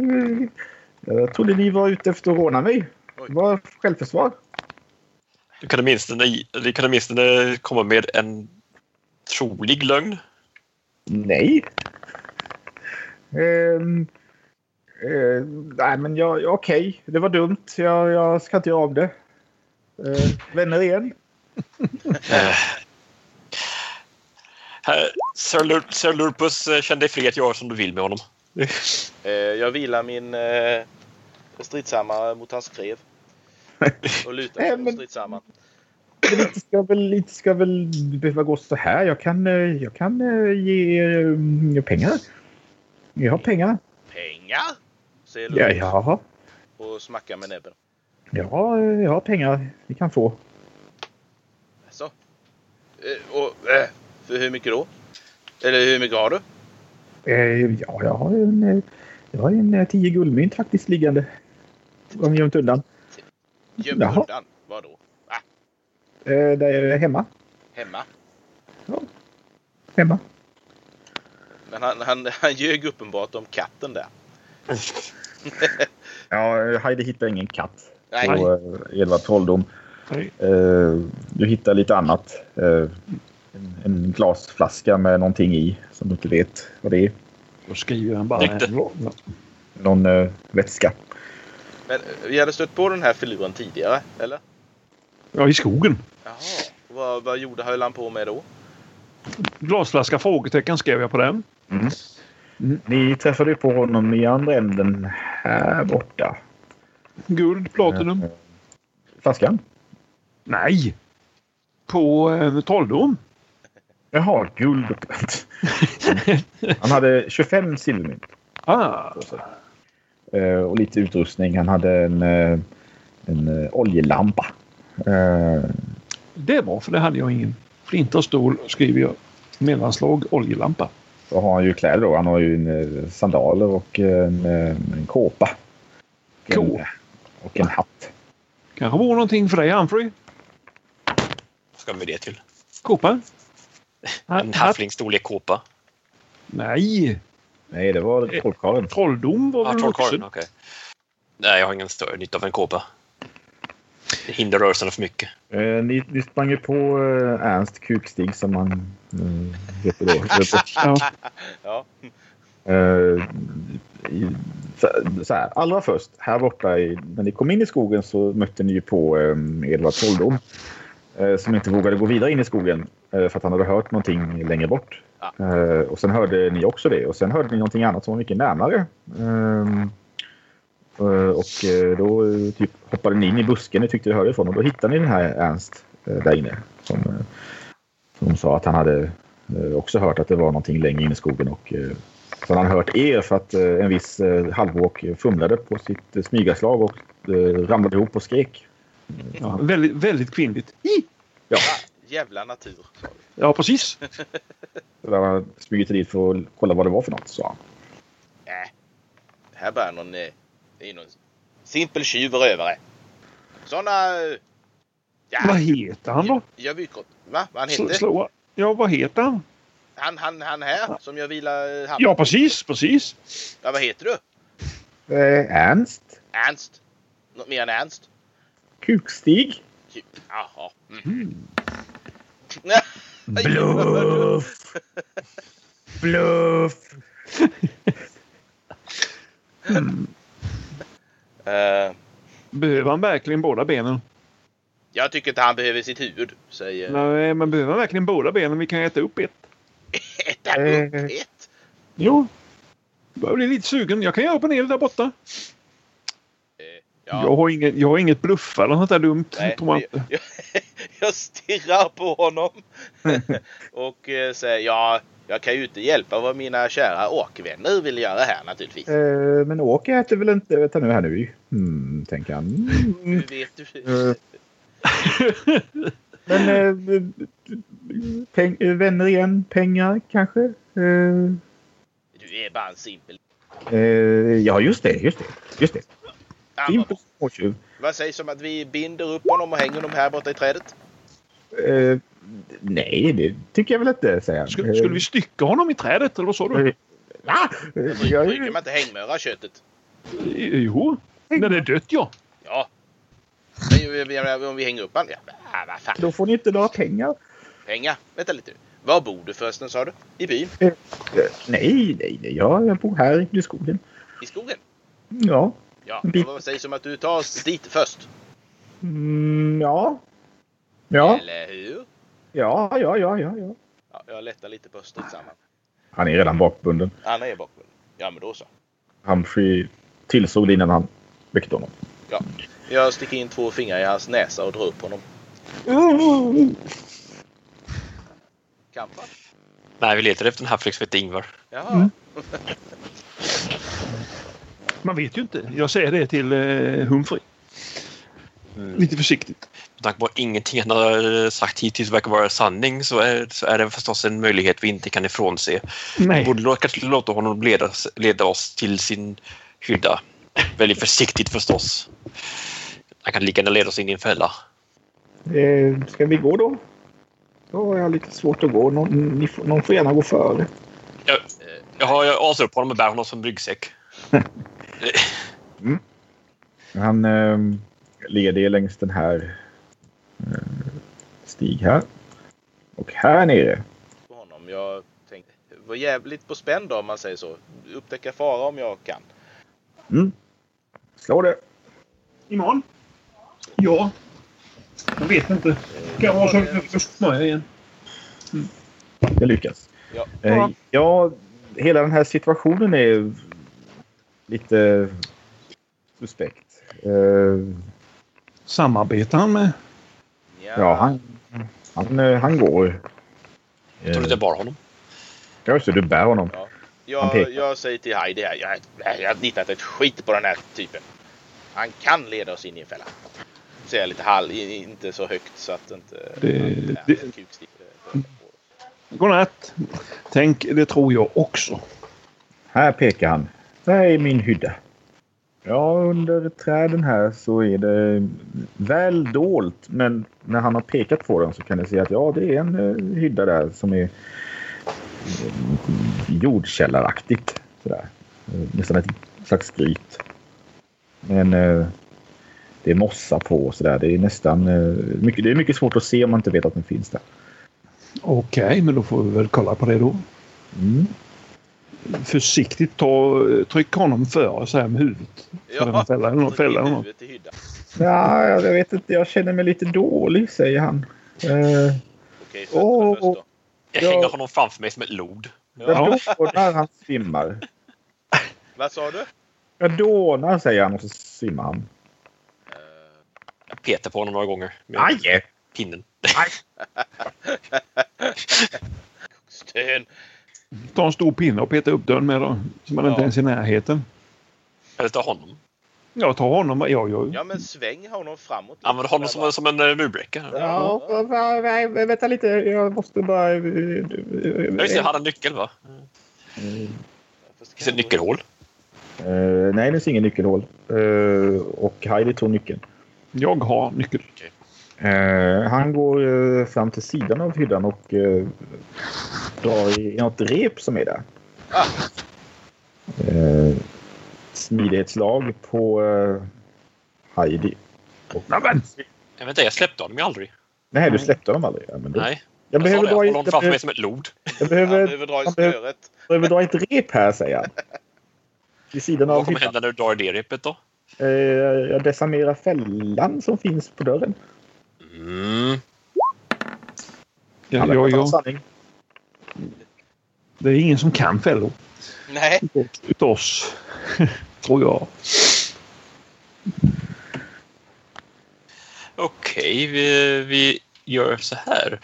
Speaker 3: jag trodde ni var ute efter att råna mig. Det var självförsvar.
Speaker 2: Du kan åtminstone, du kan åtminstone komma med en trolig lögn.
Speaker 3: Nej. Ehm, Eh, nej, men jag, jag- okej. Det var dumt. Jag, jag ska inte göra om det. Eh, vänner igen.
Speaker 2: Här, Sir, Lur- Sir Lurpus eh, känn dig fri att göra som du vill med honom.
Speaker 4: Eh, jag vilar min eh, stridshammare mot hans skrev. Och lutar
Speaker 3: Nej,
Speaker 4: mig mot
Speaker 3: men-
Speaker 4: stridshammaren.
Speaker 3: Men inte ska väl, inte ska väl behöva gå så här. Jag kan, eh, jag kan eh, ge er mm, pengar. Jag har pengar.
Speaker 4: Pengar! Säger
Speaker 3: Ja,
Speaker 4: Lurpus
Speaker 3: jag har,
Speaker 4: och smackar med näbben.
Speaker 3: jag, har, eh, jag har pengar. Ni kan få.
Speaker 4: Så. Eh, och, eh, för hur mycket då? Eller hur mycket har du?
Speaker 3: Eh, ja, jag har en, eh, jag har en eh, tio guldmynt faktiskt liggande. Om gömt undan.
Speaker 4: Gömt
Speaker 3: Jaha.
Speaker 4: undan? Vadå?
Speaker 3: Eh, där är hemma.
Speaker 4: Hemma?
Speaker 3: Hemma.
Speaker 4: Men han, han, han ljög uppenbart om katten där.
Speaker 3: Ja, Heidi hittar ingen katt.
Speaker 4: Nej,
Speaker 5: Nej.
Speaker 3: på eh, Edvard Trolldom.
Speaker 5: Nej.
Speaker 3: Eh, du hittar lite annat. Eh, en, en glasflaska med någonting i som du inte vet vad det är.
Speaker 5: Då skriver han bara...
Speaker 2: Rykte.
Speaker 5: Ja.
Speaker 3: Någon eh, vätska.
Speaker 4: men eh, vi hade stött på den här filuren tidigare, eller?
Speaker 5: Ja, i skogen.
Speaker 4: Jaha. Vad, vad gjorde höll han på med då?
Speaker 5: Glasflaska? Frågetecken skrev jag på den.
Speaker 3: Ni träffade ju på honom i andra änden här borta.
Speaker 5: Guld, platinum.
Speaker 3: Eh, Flaskan?
Speaker 5: Nej! På eh, trolldom.
Speaker 3: Jaha, guld. och plant. Han hade 25 silvermynt
Speaker 5: Ah,
Speaker 3: eh, och lite utrustning. Han hade en, eh, en eh, oljelampa. Eh,
Speaker 5: det var för det hade jag ingen. Flinta och stål skriver jag. Mellanslag oljelampa.
Speaker 3: Då har han ju kläder då. Han har ju en, eh, sandaler och en, eh, en kåpa. Och en- eh,
Speaker 5: Kåpa.
Speaker 3: Och en hatt.
Speaker 5: Kanske vore någonting för dig Humphrey?
Speaker 2: Vad ska vi det till?
Speaker 5: Kåpa?
Speaker 2: En halflingstorlek kåpa?
Speaker 5: Nej!
Speaker 3: Nej, det var trollkarlen.
Speaker 5: Trolldom var
Speaker 2: Ja,
Speaker 5: väl
Speaker 2: trollkarlen.
Speaker 5: vuxen?
Speaker 2: Okej. Nej, jag har ingen större nytta av en kåpa. Det hindrar rörelserna för mycket.
Speaker 3: Eh, ni, ni sprang ju på eh, Ernst Kukstig som han eh, heter då.
Speaker 5: Ja.
Speaker 4: Ah, Ja.
Speaker 3: Eh, i, så, så här, allra först, här borta i, när ni kom in i skogen så mötte ni ju på eh, Edvard Trolldom. Eh, som inte vågade gå vidare in i skogen eh, för att han hade hört någonting längre bort.
Speaker 4: Ja.
Speaker 3: Eh, och sen hörde ni också det och sen hörde ni någonting annat som var mycket närmare. Ehm, eh, och eh, då eh, typ hoppade ni in i busken ni tyckte ni hörde ifrån och då hittade ni den här Ernst eh, där inne. Som, eh, som sa att han hade eh, också hört att det var någonting längre in i skogen och eh, så han hade hört er för att eh, en viss eh, halvåk fumlade på sitt eh, smygarslag och eh, ramlade ihop och skrek.
Speaker 5: Ja, väldigt, väldigt kvinnligt. Hi!
Speaker 4: Jävla natur. sa vi.
Speaker 5: Ja, precis.
Speaker 3: Så där han smugit dit för att kolla vad det var för något, sa han.
Speaker 4: Äh. Det här bara någon... eh, Det är någon simpel tjuv och rövare. Såna... eh, Ja,
Speaker 5: Vad heter han då?
Speaker 4: gör vykort. Va? Vad han
Speaker 5: Sl-
Speaker 4: hette?
Speaker 5: slå. Ja, vad heter han?
Speaker 4: Han, han, han här som jag vilar eh, hand.
Speaker 5: Ja, precis, precis.
Speaker 4: ja, vad heter du?
Speaker 3: Eh, Ernst?
Speaker 4: Ernst? Något mer än Ernst?
Speaker 3: Kukstig?
Speaker 4: Ty- Jaha. Mm.
Speaker 3: Bluff! Bluff!
Speaker 4: Eh,
Speaker 5: Behöver han verkligen båda benen?
Speaker 4: jag tycker inte han behöver sitt huvud, säger...
Speaker 5: Nej, men behöver han verkligen båda benen? Vi kan äta upp ett.
Speaker 4: Ett, ett, upp, ett.
Speaker 5: Jo. Börjar bli lite sugen. Jag kan göra upp en hel där borta. Jag,
Speaker 4: Ja,
Speaker 5: har inget, jag har inget bluffa eller något där dumt.
Speaker 4: Nej,
Speaker 5: tror jag
Speaker 4: det-
Speaker 5: inte.
Speaker 4: jag, jag stirrar på honom och eh, säger ja, jag kan ju inte hjälpa vad mina kära åkvänner vill göra här naturligtvis.
Speaker 3: Eh, men Åke äter väl inte... Vänta nu här nu. Hmm, tänker han.
Speaker 4: Du
Speaker 3: Mm,
Speaker 4: vet du.
Speaker 3: eh. Men eh, peng, eh, vänner igen, pengar kanske? Eh,
Speaker 4: Du är bara en simpel...
Speaker 3: Eh, ja, just det. Just det. Just det.
Speaker 4: Ja,
Speaker 3: Fin på
Speaker 4: vad-
Speaker 3: småtjuv.
Speaker 4: Vad sägs om att vi binder upp honom och hänger honom här borta i trädet?
Speaker 3: Eh, nej, det tycker jag väl inte, säger han.
Speaker 5: Skulle, skulle vi stycka honom i trädet eller vad sa du?
Speaker 3: Eh, Va? Eh, jag är
Speaker 4: Brukar
Speaker 3: ju-
Speaker 4: man inte hängmöra köttet? Eh.
Speaker 5: Jo. När det är dött, ja.
Speaker 4: Ja. Men ju- ju- ju- om vi hänger upp honom? Ja, men, ah, vad fan.
Speaker 3: Då får ni inte några pengar.
Speaker 4: Pengar. Vänta lite. nu. Var bor du förresten sa du? I byn?
Speaker 3: Eh, nej, nej, nej. Jag bor här i skogen.
Speaker 4: I skogen?
Speaker 3: Ja.
Speaker 4: Ja, det var säg som att du tar oss dit först.
Speaker 3: Mm, ja. Ja,
Speaker 4: Eller hur?
Speaker 3: ja, ja, ja, ja. ja.
Speaker 4: Ja, jag lättar lite på stridshammaren.
Speaker 3: Han är redan bakbunden.
Speaker 4: Anna är bakbunden. Ja, men då så.
Speaker 3: Humphrey tillsåg det innan han väckte honom.
Speaker 4: Jag sticker in två fingrar i hans näsa och drar upp honom. Mm. Kampa?
Speaker 2: Nej, vi letar efter en hafflick som heter Ingvar.
Speaker 4: Jaha.
Speaker 3: Mm.
Speaker 5: Man vet ju inte. Jag säger det till eh, Humphrey. Lite försiktigt.
Speaker 2: Med tanke på att ingenting han har sagt hittills verkar vara sanning så är, så är det förstås en möjlighet vi inte kan ifrånse. Vi
Speaker 5: Nej.
Speaker 2: borde lå- kanske låta honom leda, leda oss till sin hydda. Väldigt försiktigt förstås. Han kan lika gärna leda oss in i en fälla.
Speaker 6: Eh, ska vi gå då? Då har jag lite svårt att gå. Någon, ni, får- någon får gärna gå före.
Speaker 2: eh, Jag, har, jag asar upp honom och bär honom som ryggsäck.
Speaker 3: Han eh, leder längs den här eh, stig här. Och här nere.
Speaker 4: på honom. Jag tänkte, var jävligt på spänn då om man säger så. Upptäcka fara om jag kan.
Speaker 3: Slå det.
Speaker 5: Imorgon? Ja. Jag vet inte. Kan vara så att jag snöar igen.
Speaker 3: Det lyckas.
Speaker 4: Ja.
Speaker 3: Eh, ja, hela den här situationen är lite suspekt. Eh,
Speaker 5: Samarbetar han med?
Speaker 3: ja, han, han, eh, han går.
Speaker 2: Jag tror
Speaker 3: Eh,
Speaker 2: inte jag bar honom.
Speaker 3: ja, så du bär honom. han
Speaker 4: jag,
Speaker 3: pekar.
Speaker 4: jag säger till Heidi här. Jag, jag har inte hittat ett skit på den här typen. Han kan leda oss in i en fälla. Säger jag lite halv, i- inte så högt så att inte...
Speaker 5: Det-
Speaker 4: att
Speaker 5: Eh, det-
Speaker 4: är typ eh, kukstick.
Speaker 5: Godnatt. Tänk, det tror jag också.
Speaker 3: Här pekar han. Där är min hydda. Ja, under träden här så är det väl dolt. Men när han har pekat på den så kan ni se att ja, det är en eh, hydda där som är eh, jordkällaraktigt. Sådär. Eh, Nästan ett slags gryt. Men eh, det är mossa på och sådär. Det är nästan eh, mycket, det är mycket svårt att se om man inte vet att den finns där.
Speaker 5: Okej, men då får vi väl kolla på det då.
Speaker 3: Mm.
Speaker 5: Försiktigt ta, tryck honom före så här med huvudet. Så
Speaker 4: Ja.
Speaker 5: den fäller honom.
Speaker 4: Så
Speaker 5: Fäller
Speaker 4: in i
Speaker 5: honom.
Speaker 4: huvudet i hyddan.
Speaker 6: Ja, jag vet inte. Jag känner mig lite dålig, säger han. Eh,
Speaker 4: Okej, fötter
Speaker 6: Åh,
Speaker 4: först då.
Speaker 2: Jag
Speaker 6: Ja.
Speaker 2: hänger honom framför mig som ett lod.
Speaker 3: Jag
Speaker 5: Ja.
Speaker 3: dånar, han svimmar.
Speaker 4: Vad sa du?
Speaker 3: Jag dånar, säger han och så svimmar han.
Speaker 2: Jag petar på honom några gånger med
Speaker 3: Aj!
Speaker 2: pinnen.
Speaker 4: Stön.
Speaker 5: Ta en stor pinne och peta upp dörren med då. Så man inte
Speaker 4: Ja.
Speaker 5: ens är i närheten.
Speaker 2: Eller ta honom.
Speaker 5: Ja, ta honom. Ja, ja.
Speaker 4: Ja men sväng honom framåt. lite
Speaker 2: Använd honom
Speaker 4: sådär
Speaker 2: som,
Speaker 4: bara.
Speaker 2: en- som en eh, murbräcka.
Speaker 6: ja, va- va- va- vänta lite. Jag måste bara... eh,
Speaker 2: Jag vill se, han har nyckel va?
Speaker 4: Fast det
Speaker 2: Finns det
Speaker 4: kan
Speaker 2: ett
Speaker 4: gå-
Speaker 2: nyckelhål?
Speaker 3: Eh, nej, det finns ingen nyckelhål. Eh, och Heidi tog nyckeln.
Speaker 5: Jag har nyckel.
Speaker 3: Eh, han går eh, fram till sidan av hyddan och eh, drar i något rep som är där.
Speaker 4: Ah.
Speaker 3: Eh, smidighetslag på eh, Heidi.
Speaker 5: Nämen!
Speaker 2: Jag vet inte, jag släppte honom ju aldrig.
Speaker 3: Nej, du släppte dem aldrig. Ja, men då-
Speaker 2: Nej,
Speaker 3: jag,
Speaker 2: jag sa
Speaker 3: behöver
Speaker 2: det. Jag
Speaker 3: dra i,
Speaker 2: håller
Speaker 3: jag,
Speaker 2: honom framför mig
Speaker 3: behöver,
Speaker 2: som ett lod.
Speaker 3: jag,
Speaker 4: Han
Speaker 3: behöver,
Speaker 4: behöver dra i
Speaker 3: han behöver-
Speaker 4: snöret.
Speaker 3: behöver dra ett rep här, säger han. Vid sidan
Speaker 2: Vad
Speaker 3: av
Speaker 2: kommer
Speaker 3: hyddan.
Speaker 2: hända när du drar i det repet då?
Speaker 3: Eh, jag decimerar fällan som finns på dörren.
Speaker 2: Mm.
Speaker 5: Ja,
Speaker 3: Alla
Speaker 5: ja,
Speaker 3: pratar
Speaker 5: ja.
Speaker 3: sanning.
Speaker 5: Det är ingen som kan fällor.
Speaker 4: Nej.
Speaker 5: Utav oss. Tror jag.
Speaker 2: Okej, vi, vi gör så här.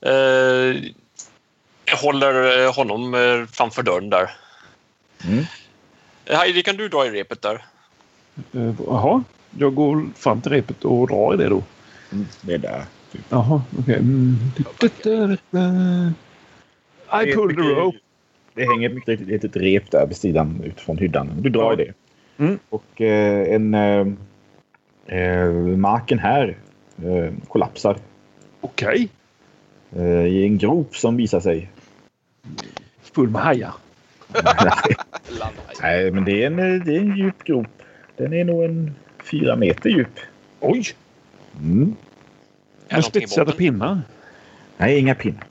Speaker 2: Eh, jag håller eh, honom eh, framför dörren där.
Speaker 3: Mm.
Speaker 2: Eh, Heidi, kan du dra i repet där?
Speaker 5: Eh, Jaha. Jag går fram till repet och drar i det då.
Speaker 3: Mm, Det är där.
Speaker 5: Jaha, okej. Mm. I pulled the rope.
Speaker 3: Det hänger mycket riktigt ett litet rep där vid sidan ut från hyddan. Du drar i det.
Speaker 5: Mm.
Speaker 3: Och eh, en... Eh, eh, marken här eh, kollapsar
Speaker 5: Okej.
Speaker 3: eh, i en grop som visar sig.
Speaker 5: Full med hajar.
Speaker 4: Landa.
Speaker 3: Nej, men det är, en, eh, det är en djup grop. Den är nog en fyra meter djup.
Speaker 5: Oj!
Speaker 3: Mm.
Speaker 2: Är
Speaker 5: Med
Speaker 2: någonting i
Speaker 5: spetsade
Speaker 2: botten?
Speaker 5: pinnar.
Speaker 3: Nej, inga pinnar.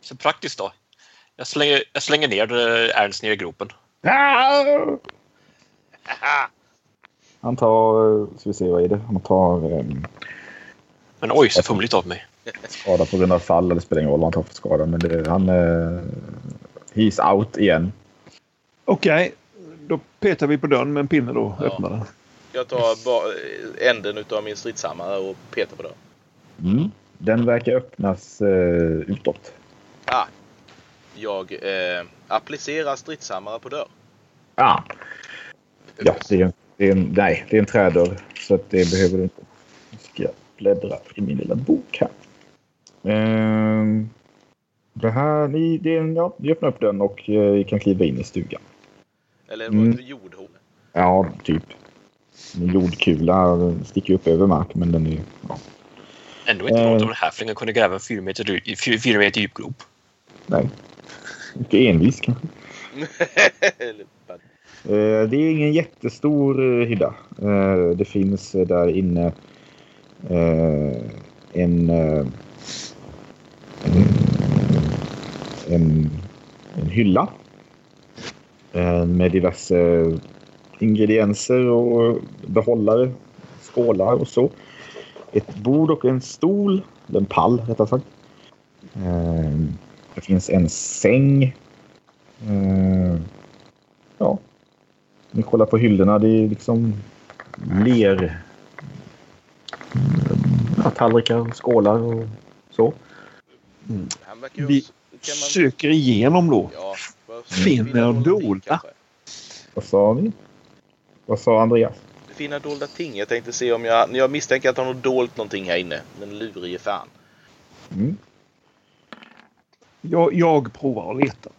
Speaker 2: Så praktiskt då. Jag slänger, jag slänger ner eh, Ernst ner i gropen.
Speaker 3: Ah! Han tar, eh, ska vi se vad är det? Han tar eh,
Speaker 2: Men oj, så fumligt av mig.
Speaker 3: skada på grund av fall. Det spelar ingen roll vad han tar för skada. Men det, han... Eh, he's out igen.
Speaker 5: Okej, då petar vi på dörren med en pinne då.
Speaker 4: Ja.
Speaker 5: Öppnar den.
Speaker 4: Jag tar ba- eh, änden utav min stridshammare och petar på den.
Speaker 3: Mm. Den verkar öppnas eh, utåt.
Speaker 4: Jag eh, applicerar stridshammare på dörr.
Speaker 3: Ah. Ja, det är, en, det, är en, nej, det är en trädörr. Så att det behöver du inte. Nu ska jag bläddra i min lilla bok här. Ehm, det här, ni, det är en, ja, ni öppnar upp den och eh, ni kan kliva in i stugan.
Speaker 4: Eller det var ett
Speaker 3: Mm.
Speaker 4: jordhål.
Speaker 3: Ja, typ. En jordkula sticker upp över mark, men den är... Ja,
Speaker 2: Ändå inte
Speaker 3: Eh.
Speaker 2: något om den här flingen kunde gräva en fyra meter, dy- fy- fyra meter djup grop.
Speaker 3: inte envis kanske.
Speaker 4: Eller vad-
Speaker 3: Eh, Det är ingen jättestor eh, hydda. Eh, Det finns eh, där inne eh, en, eh, en, en hylla eh, med diverse ingredienser och behållare, skålar och så. Ett bord och en stol, eller en pall rättare sagt. Eh, Det finns en säng. Eh, Ja, ni kollar på hyllorna. Det är liksom ler. Ja, tallrikar, skålar och så.
Speaker 4: Han verkar ju...
Speaker 5: Vi
Speaker 4: kan man...
Speaker 5: Söker igenom då.
Speaker 4: Ja, vad-
Speaker 5: Finner
Speaker 4: finna dolda ting,
Speaker 5: dolda.
Speaker 4: kanske.
Speaker 3: Vad sa ni? Vad sa Andreas?
Speaker 4: Finna dolda ting. Jag tänkte se om jag... Jag misstänker att han har dolt någonting här inne. Den lurige fan.
Speaker 3: Mm.
Speaker 5: Jag, jag provar att leta.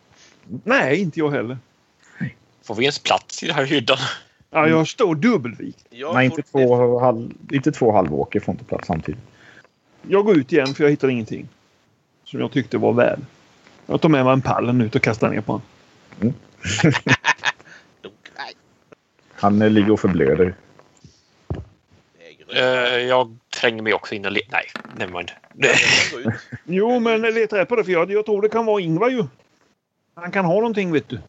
Speaker 5: Nej, inte jag heller.
Speaker 2: Får vi ens plats i den här hyddan?
Speaker 5: Ja, jag står dubbelvikt.
Speaker 4: Jag
Speaker 3: Nej,
Speaker 4: får-
Speaker 3: inte två, halv, inte två halvåker får inte plats samtidigt.
Speaker 5: Jag går ut igen för jag hittar ingenting. Som jag tyckte var värd. Jag tar med mig en pallen ut och kastar ner på honom.
Speaker 4: Nej,
Speaker 3: Han eh, ligger och förblöder.
Speaker 4: det är
Speaker 2: Eh,
Speaker 4: grönt.
Speaker 2: jag tränger mig också in och le- Nej, nevermind.
Speaker 4: Gå ut.
Speaker 5: Jo, men leta rätt på det för jag, jag tror det kan vara Ingvar ju. Han kan ha någonting vet du.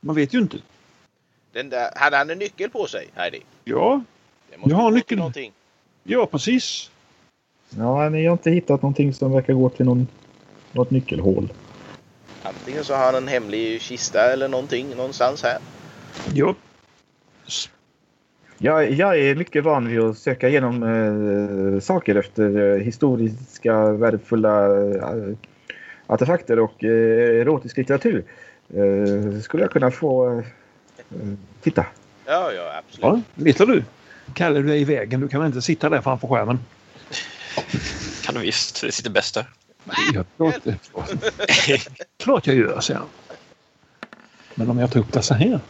Speaker 5: Man vet ju inte.
Speaker 4: Den där... Hade han en nyckel på sig, Heidi?
Speaker 5: Ja,
Speaker 4: Det måste
Speaker 5: Jag har
Speaker 4: gå till
Speaker 5: nyckeln.
Speaker 4: Någonting.
Speaker 5: ja precis.
Speaker 3: Ja, ni har inte hittat någonting som verkar gå till någon, något nyckelhål.
Speaker 4: Antingen så har han en hemlig kista eller någonting någonstans här.
Speaker 5: Ja.
Speaker 3: Jag, jag är mycket van vid att söka igenom eh, saker efter eh, historiska värdefulla eh, artefakter och eh, erotisk litteratur. Eh, skulle jag kunna få eh, eh, titta?
Speaker 4: Ja, ja, absolut.
Speaker 5: ja, letar du? Kalle, du är i vägen. Du kan väl inte sitta där framför skärmen?
Speaker 2: Kan du visst. Det sitter bäst där.
Speaker 5: Ja, klart, det- klart jag gör, säger han. Men om jag tar upp det så här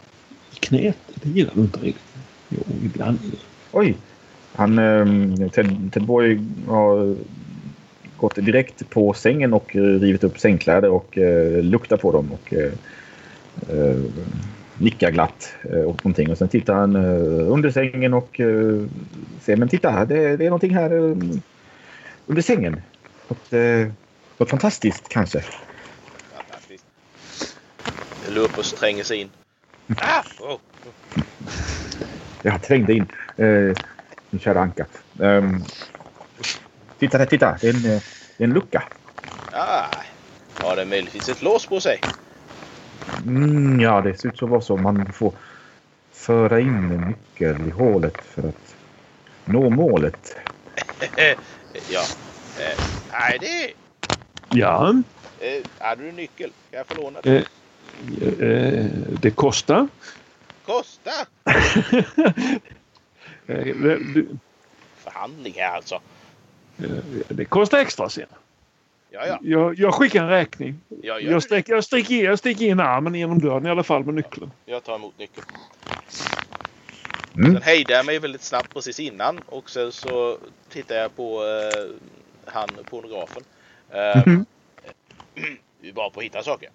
Speaker 5: i knät, det gillar du inte riktigt. Jo, ibland.
Speaker 3: Oj! Han, eh, Ted, Ted Borg har gått direkt på sängen och eh, rivit upp sängkläder och eh, luktar på dem och eh, eh, nickar glatt eh, åt någonting. Och sen tittar han eh, under sängen och eh, ser, men titta, här, det, det är någonting här eh, under sängen. Något, eh, något fantastiskt kanske.
Speaker 4: Fantastiskt. Eller upp och tränger sig in. Ah! Oh.
Speaker 3: Jag trängde in eh, min kära anka. Ehm, titta, där, titta, det är en, eh, det är en lucka.
Speaker 4: Ah. Har den möjligtvis ett lås på sig?
Speaker 3: Mm, ja, det ser ut så vara så. Man får föra in en nyckel i hålet för att nå målet.
Speaker 4: Eh, Ja. Eh, Heidi!
Speaker 5: Ja,
Speaker 4: Eh, hade du nyckel? Kan jag få låna den?
Speaker 5: Eh. eh, det kostar.
Speaker 4: Kosta!
Speaker 5: Eh, det, du- eh,
Speaker 4: Förhandling här alltså.
Speaker 5: det kostar extra, säger han.
Speaker 4: Ja, ja.
Speaker 5: Jag, jag skickar en räkning.
Speaker 4: Jag, gör
Speaker 5: Jag
Speaker 4: det.
Speaker 5: sticker, jag, sticker, in- jag sticker in armen genom dörren i alla fall med nyckeln.
Speaker 4: jag tar emot nyckeln.
Speaker 3: Mm.
Speaker 4: Sen hejdade jag mig väldigt snabbt precis innan och sen så tittar jag på eh, han pornografen. Eh,
Speaker 3: Mm.
Speaker 5: Mhm.
Speaker 4: Vi är bra på att hitta saker.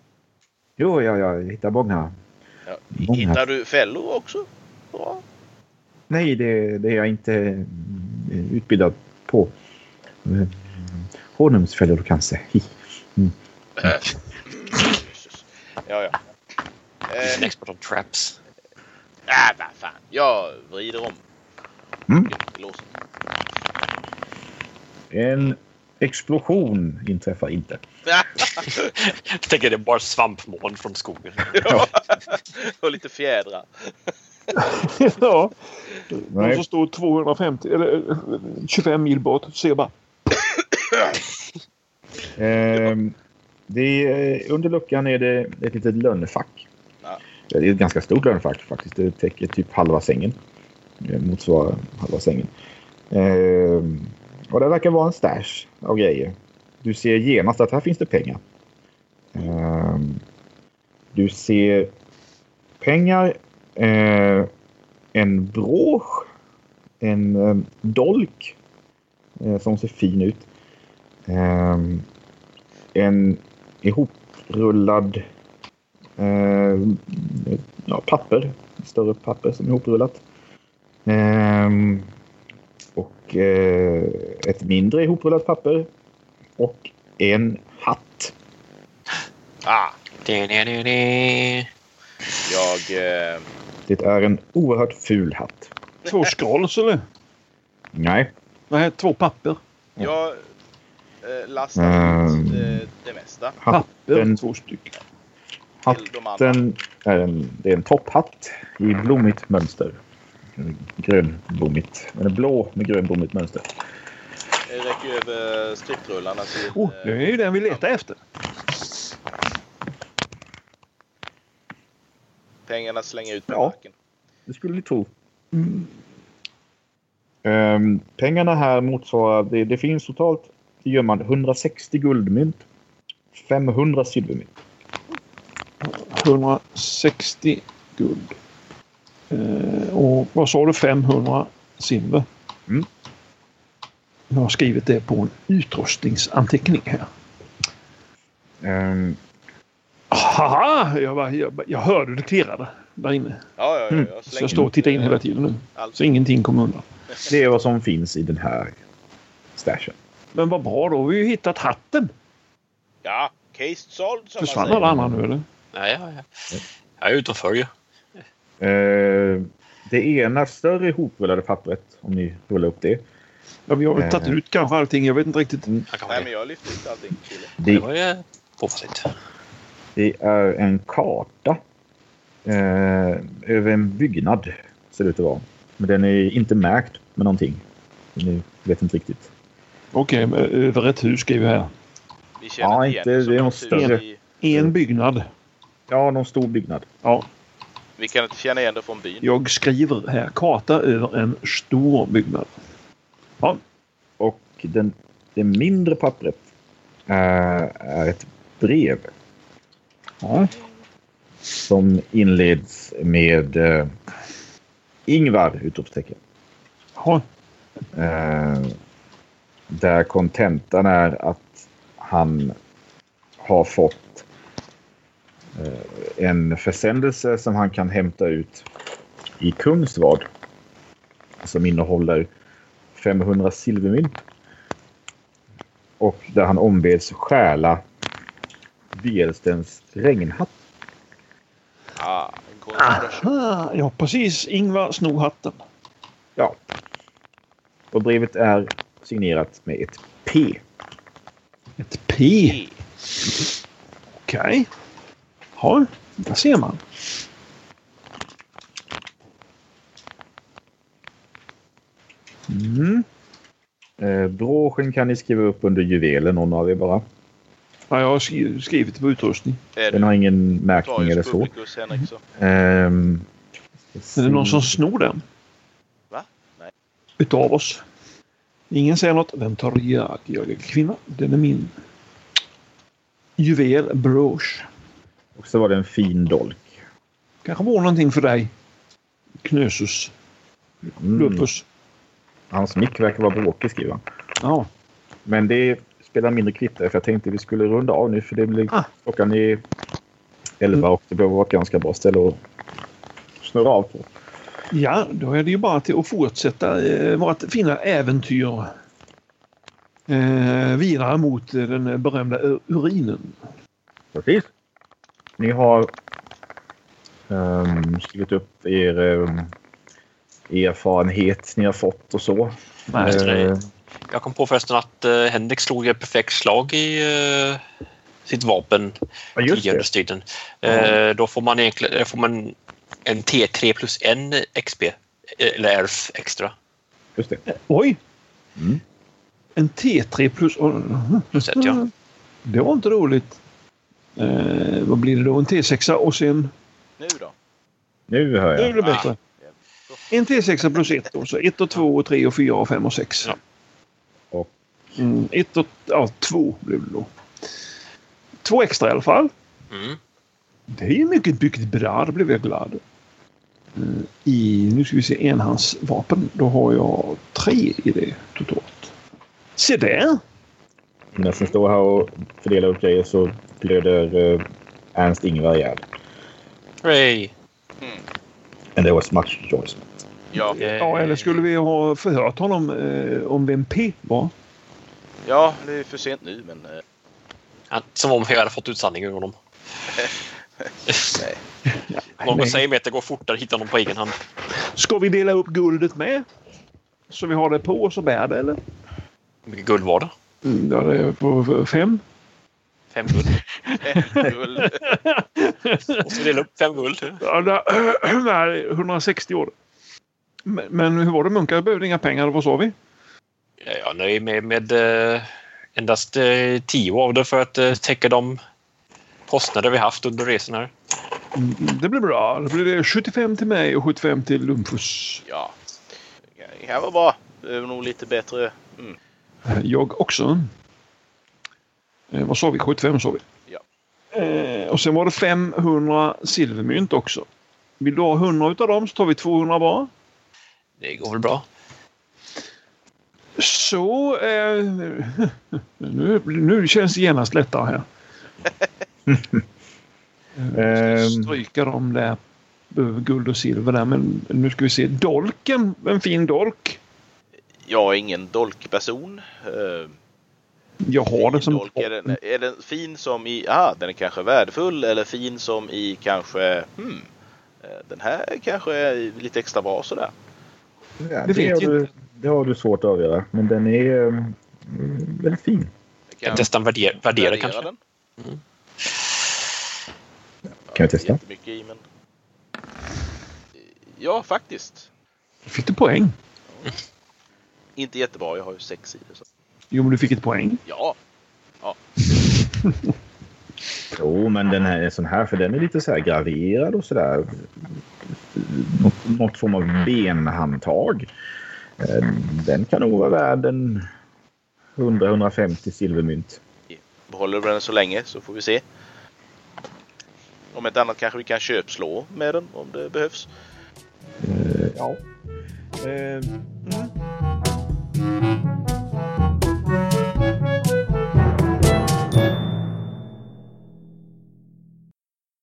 Speaker 3: Jo, ja, jag hittar många.
Speaker 4: Ja,
Speaker 3: många.
Speaker 4: Hittar du fällor också? Bra.
Speaker 3: Nej, det, det är jag inte eh, utbildad på. Eh, Honungsfällor kanske. Hi.
Speaker 4: Jesus. Ja, ja.
Speaker 2: En
Speaker 4: Eh,
Speaker 2: expert on traps.
Speaker 4: Äh, vad fan. Jag vrider om.
Speaker 3: Mm.
Speaker 4: Lås.
Speaker 3: En explosion inträffar inte.
Speaker 2: Jag tänker det är bara svampmoln från skogen.
Speaker 4: Och lite fjädrar.
Speaker 5: ja. De
Speaker 3: Nej.
Speaker 5: som står 250 eller eh, 25 mil bort ser bara
Speaker 3: Ehm, det är, under luckan är det ett litet lönefack.
Speaker 4: Ja.
Speaker 3: Det är ett ganska stort lönefack faktiskt. Det täcker typ halva sängen. Eh, Motsvarar halva sängen. Ehm, och det verkar vara en stash av grejer. Du ser genast att här finns det pengar. Ehm, du ser pengar, eh, en brosch, en eh, dolk eh, som ser fin ut. Ehm, en ihoprullad ehm, ja, papper. Större papper som är ihoprullat. Ehm, och eh, ett mindre ihoprullat papper. Och en hatt.
Speaker 4: Ah,
Speaker 2: Du-du-du-du.
Speaker 4: jag... Eh,
Speaker 3: Det är en oerhört ful hatt.
Speaker 5: två skrolls eller?
Speaker 3: Nej.
Speaker 5: Nej, två papper.
Speaker 4: jag eh, lastar ut
Speaker 3: Ehm.
Speaker 4: eh, det mesta.
Speaker 5: Papper,
Speaker 3: Den-
Speaker 5: två stycken.
Speaker 4: Till de andra.
Speaker 3: Den är en, det är en topphatt i blommigt mönster. Grönblommigt. Eller blå med grönblommigt mönster.
Speaker 4: Jag räcker över striprullarna till...
Speaker 5: Oh,
Speaker 4: eh,
Speaker 5: det är ju den vi letar efter.
Speaker 4: pengarna slänger ut på
Speaker 3: Ja.
Speaker 4: marken.
Speaker 3: Det skulle ni tro. Ehm, pengarna här motsvarar, det, det finns totalt i gömman 160 guldmynt, 500 silvermynt.
Speaker 5: 160 guld. Eh, och vad sa du? 500 silver?
Speaker 3: Mm.
Speaker 5: Jag har skrivit det på en utrustningsanteckning här.
Speaker 3: Ehm,
Speaker 5: Haha! Jag, bara, jag, bara- jag hörde det klirrade där inne.
Speaker 4: Ja, ja, ja,
Speaker 3: Mm.
Speaker 4: jag
Speaker 5: Så
Speaker 4: slänger
Speaker 5: jag står och tittar in
Speaker 4: eh,
Speaker 5: hela tiden nu.
Speaker 4: allt.
Speaker 5: Så ingenting kom undan.
Speaker 3: det är vad som finns i den här stashen.
Speaker 5: Men vad bra, då har vi ju hittat hatten.
Speaker 4: Ja, case solved som
Speaker 5: Försvann
Speaker 4: man säger.
Speaker 5: alla andra nu eller?
Speaker 2: Ja, ja, ja. Jag är ute och följer.
Speaker 3: Ehm, det ena större ihoprullade pappret, om ni rullar upp det.
Speaker 5: Ja, vi har väl tagit
Speaker 3: Eh.
Speaker 5: ut kanske allting. Jag vet inte riktigt.
Speaker 2: Jag kan
Speaker 4: Nej,
Speaker 2: vara
Speaker 4: men
Speaker 2: det.
Speaker 4: jag lyfter ut allting. Kille.
Speaker 2: Det
Speaker 3: Det,
Speaker 2: var ju påfassigt.
Speaker 3: det är en karta ehm, över en byggnad, ser det ut att vara. Men den är inte märkt med någonting. Ni vet inte riktigt.
Speaker 5: Okej, men eh, över ett hus skriver jag här.
Speaker 4: Vi känner
Speaker 3: Ja,
Speaker 4: igen
Speaker 3: inte- det är
Speaker 4: som
Speaker 3: någon
Speaker 4: något hus
Speaker 3: större.
Speaker 4: I,
Speaker 5: En byggnad.
Speaker 3: Ja, någon stor byggnad.
Speaker 5: Ja,
Speaker 4: vi kan inte känna igen det från byn.
Speaker 5: jag skriver här. Karta över en stor byggnad.
Speaker 3: Och den, det mindre pappret eh, är ett brev
Speaker 5: Ja.
Speaker 3: som inleds med eh, Ingvar! Utropstecken.
Speaker 5: Ja.
Speaker 3: Eh, där kontentan är att han har fått eh, en försändelse som han kan hämta ut i Kungsvad som innehåller 500 silvermynt och där han ombeds stjäla Bjelstens regnhatt.
Speaker 4: Ah, en konspiration.
Speaker 5: Aha, ja precis. Ingvar snor hatten.
Speaker 3: Ja. Och brevet är signerat med ett P.
Speaker 5: Ett P. Okej. Ja, där ser man. Mm.
Speaker 3: Eh, broschen kan ni skriva upp under juvelen, någon av er bara.
Speaker 5: Ja, jag har skri- skrivit på utrustning.
Speaker 4: Är
Speaker 3: Den
Speaker 4: du
Speaker 3: har ingen märkning eller
Speaker 4: Notarius
Speaker 3: så.
Speaker 4: Publicus Henriksson?
Speaker 3: Ehm,
Speaker 5: Är det någon
Speaker 3: Mm.
Speaker 5: som snor den?
Speaker 4: Va? Nej.
Speaker 5: Utav oss. Ingen säger något. Den tar jag. Jag är kvinna. Den är min. Juvel brosch.
Speaker 3: Och så var det en fin dolk.
Speaker 5: Kanske vore någonting för dig. Knösus.
Speaker 3: Mm.
Speaker 5: Lupus.
Speaker 3: Hans mick verkar vara bråkig skriver han.
Speaker 5: Ja.
Speaker 3: Men det spelar mindre kvittar för jag tänkte vi skulle runda av nu för det blir
Speaker 5: Ah.
Speaker 3: klockan är 11 och det behöver vara ett ganska bra ställe att snurra av på.
Speaker 5: ja, då är det ju bara till att fortsätta eh, vårt fina äventyr. Eh, vidare mot eh, den berömda ur- urinen.
Speaker 3: Precis. Ni har Ehm, skrivit upp er ehm, erfarenhet ni har fått och så.
Speaker 5: Nej.
Speaker 2: Just det.
Speaker 3: Ehm,
Speaker 2: Jag kom på förresten att eh, Henrik slog ett perfekt slag i eh, sitt vapen
Speaker 3: ja, just
Speaker 2: tidigare
Speaker 3: det.
Speaker 2: under striden. Eh, då får man, egentligen, eh, får man en T3 plus en XP, eh, eller RF extra.
Speaker 3: Just det.
Speaker 5: Oj!
Speaker 3: Mm.
Speaker 5: En T3 plus...
Speaker 2: Plus ett,
Speaker 5: Mm.
Speaker 2: ja.
Speaker 5: Det var inte roligt. Eh, vad blir det då? En T6 och sen...
Speaker 4: Nu då?
Speaker 3: Nu hör
Speaker 5: Nu är
Speaker 3: jag.
Speaker 5: det bättre. En T6 plus 1 då. Så 1 och 2 och 3 och 4 och 5 och 6.
Speaker 2: Ja.
Speaker 3: Och-
Speaker 5: Mm, ett och... Ja, 2 blev det då. Två extra i alla fall.
Speaker 2: Mm.
Speaker 5: Det är ju mycket byggt bra, då blev jag glad. Mm, I, nu ska vi se, enhandsvapen. Då har jag tre i det totalt. Se där!
Speaker 3: När jag står här och fördelar upp grejer så glöder eh, Ernst-Ingvar ihjäl.
Speaker 2: Hurray!
Speaker 3: And there was much choice.
Speaker 4: Ja.
Speaker 2: Eh.
Speaker 5: Ja, eller skulle vi ha förhört honom eh, om vem P var?
Speaker 4: ja, det är för sent nu men... eh,
Speaker 2: Ja, Som om jag hade fått ut sanningen ur honom.
Speaker 4: Nej.
Speaker 2: Någon
Speaker 5: Nej.
Speaker 2: säger mig att det går fortare att hitta någon på egen hand.
Speaker 5: Ska vi dela upp guldet med? Så vi har det på oss och bär det, eller?
Speaker 2: Hur mycket guld var det?
Speaker 5: Mm, ja, det är på fem.
Speaker 2: Fem guld.
Speaker 4: Guld.
Speaker 2: Och så dela upp fem guld.
Speaker 5: Ja, där, där, 160 år. Men, men hur var det? Munkar behövde inga pengar. Vad sa vi?
Speaker 2: Ja, Jag är nöjd med, med eh, endast eh, tio av det för att eh, täcka de kostnader vi haft under resan här.
Speaker 5: Mm, Det blir bra. Det blir 75 till mig och 75 till Lumfus.
Speaker 4: Ja. Det här var bra. Det är nog lite bättre.
Speaker 5: Jag också. Eh, vad sa vi? 75 sa vi.
Speaker 4: Ja.
Speaker 5: Eh, och sen var det 500 silvermynt också. Vill du ha 100 utav dem så tar vi 200 var.
Speaker 2: Det går väl bra.
Speaker 5: Så... Eh, nu, nu känns det genast lättare här.
Speaker 3: Ehm,
Speaker 5: Stryka dem där. eh, Guld och silver där. Men nu ska vi se. Dolken. En fin dolk.
Speaker 4: Jag är ingen dolkperson. Eh,
Speaker 5: Jag har det
Speaker 4: fin
Speaker 5: som...
Speaker 4: dolk. Är den, är den fin som i... Ah, den är kanske värdefull eller fin som i kanske... Hmm, eh, den här kanske är lite extra bra sådär.
Speaker 3: ja,
Speaker 5: det
Speaker 3: det,
Speaker 5: vet
Speaker 3: har
Speaker 5: ju
Speaker 3: du, det har du svårt att avgöra. Men den är ehm, mm, väldigt fin.
Speaker 4: Jag
Speaker 2: Jag testar värdera, värdera kanske.
Speaker 4: den.
Speaker 3: Kan jag testa?
Speaker 4: Jättemycket i men... Ja, faktiskt.
Speaker 5: Fick du poäng?
Speaker 4: Inte jättebra. Jag har ju sex i det. Så.
Speaker 5: Jo, men du fick ett poäng.
Speaker 4: Ja,
Speaker 3: Jo, men den här är sån här för den är lite så här graverad och sådär. Något, något form av benhandtag. Eh, Den kan nog vara värd en 100-150 silvermynt.
Speaker 4: behåller vi den så länge så får vi se. Om ett annat kanske vi kan köpslå med den om det behövs.
Speaker 3: Ja. Eh,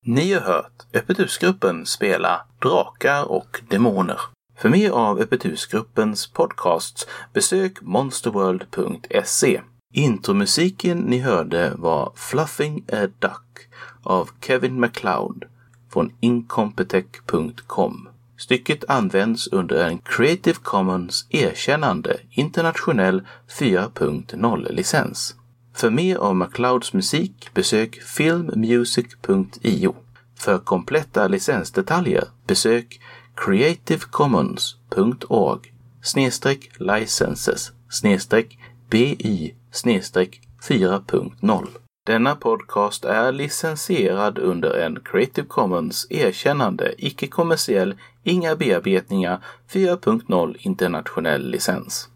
Speaker 1: Ni har hört Öppet husgruppen spela Drakar och Demoner. För mer av Öppet husgruppens podcasts besök monsterworld.se. Intromusiken ni hörde var Fluffing a Duck av Kevin MacLeod från incompetech.com. Stycket används under en Creative Commons erkännande internationell 4.0-licens. För mer av MacLeods musik besök filmmusic.io. För kompletta licensdetaljer besök creativecommons.org snedstreck licenses snedstreck bi snedstreck 4.0. Denna podcast är licensierad under en Creative Commons erkännande icke-kommersiell, inga bearbetningar 4.0 internationell licens.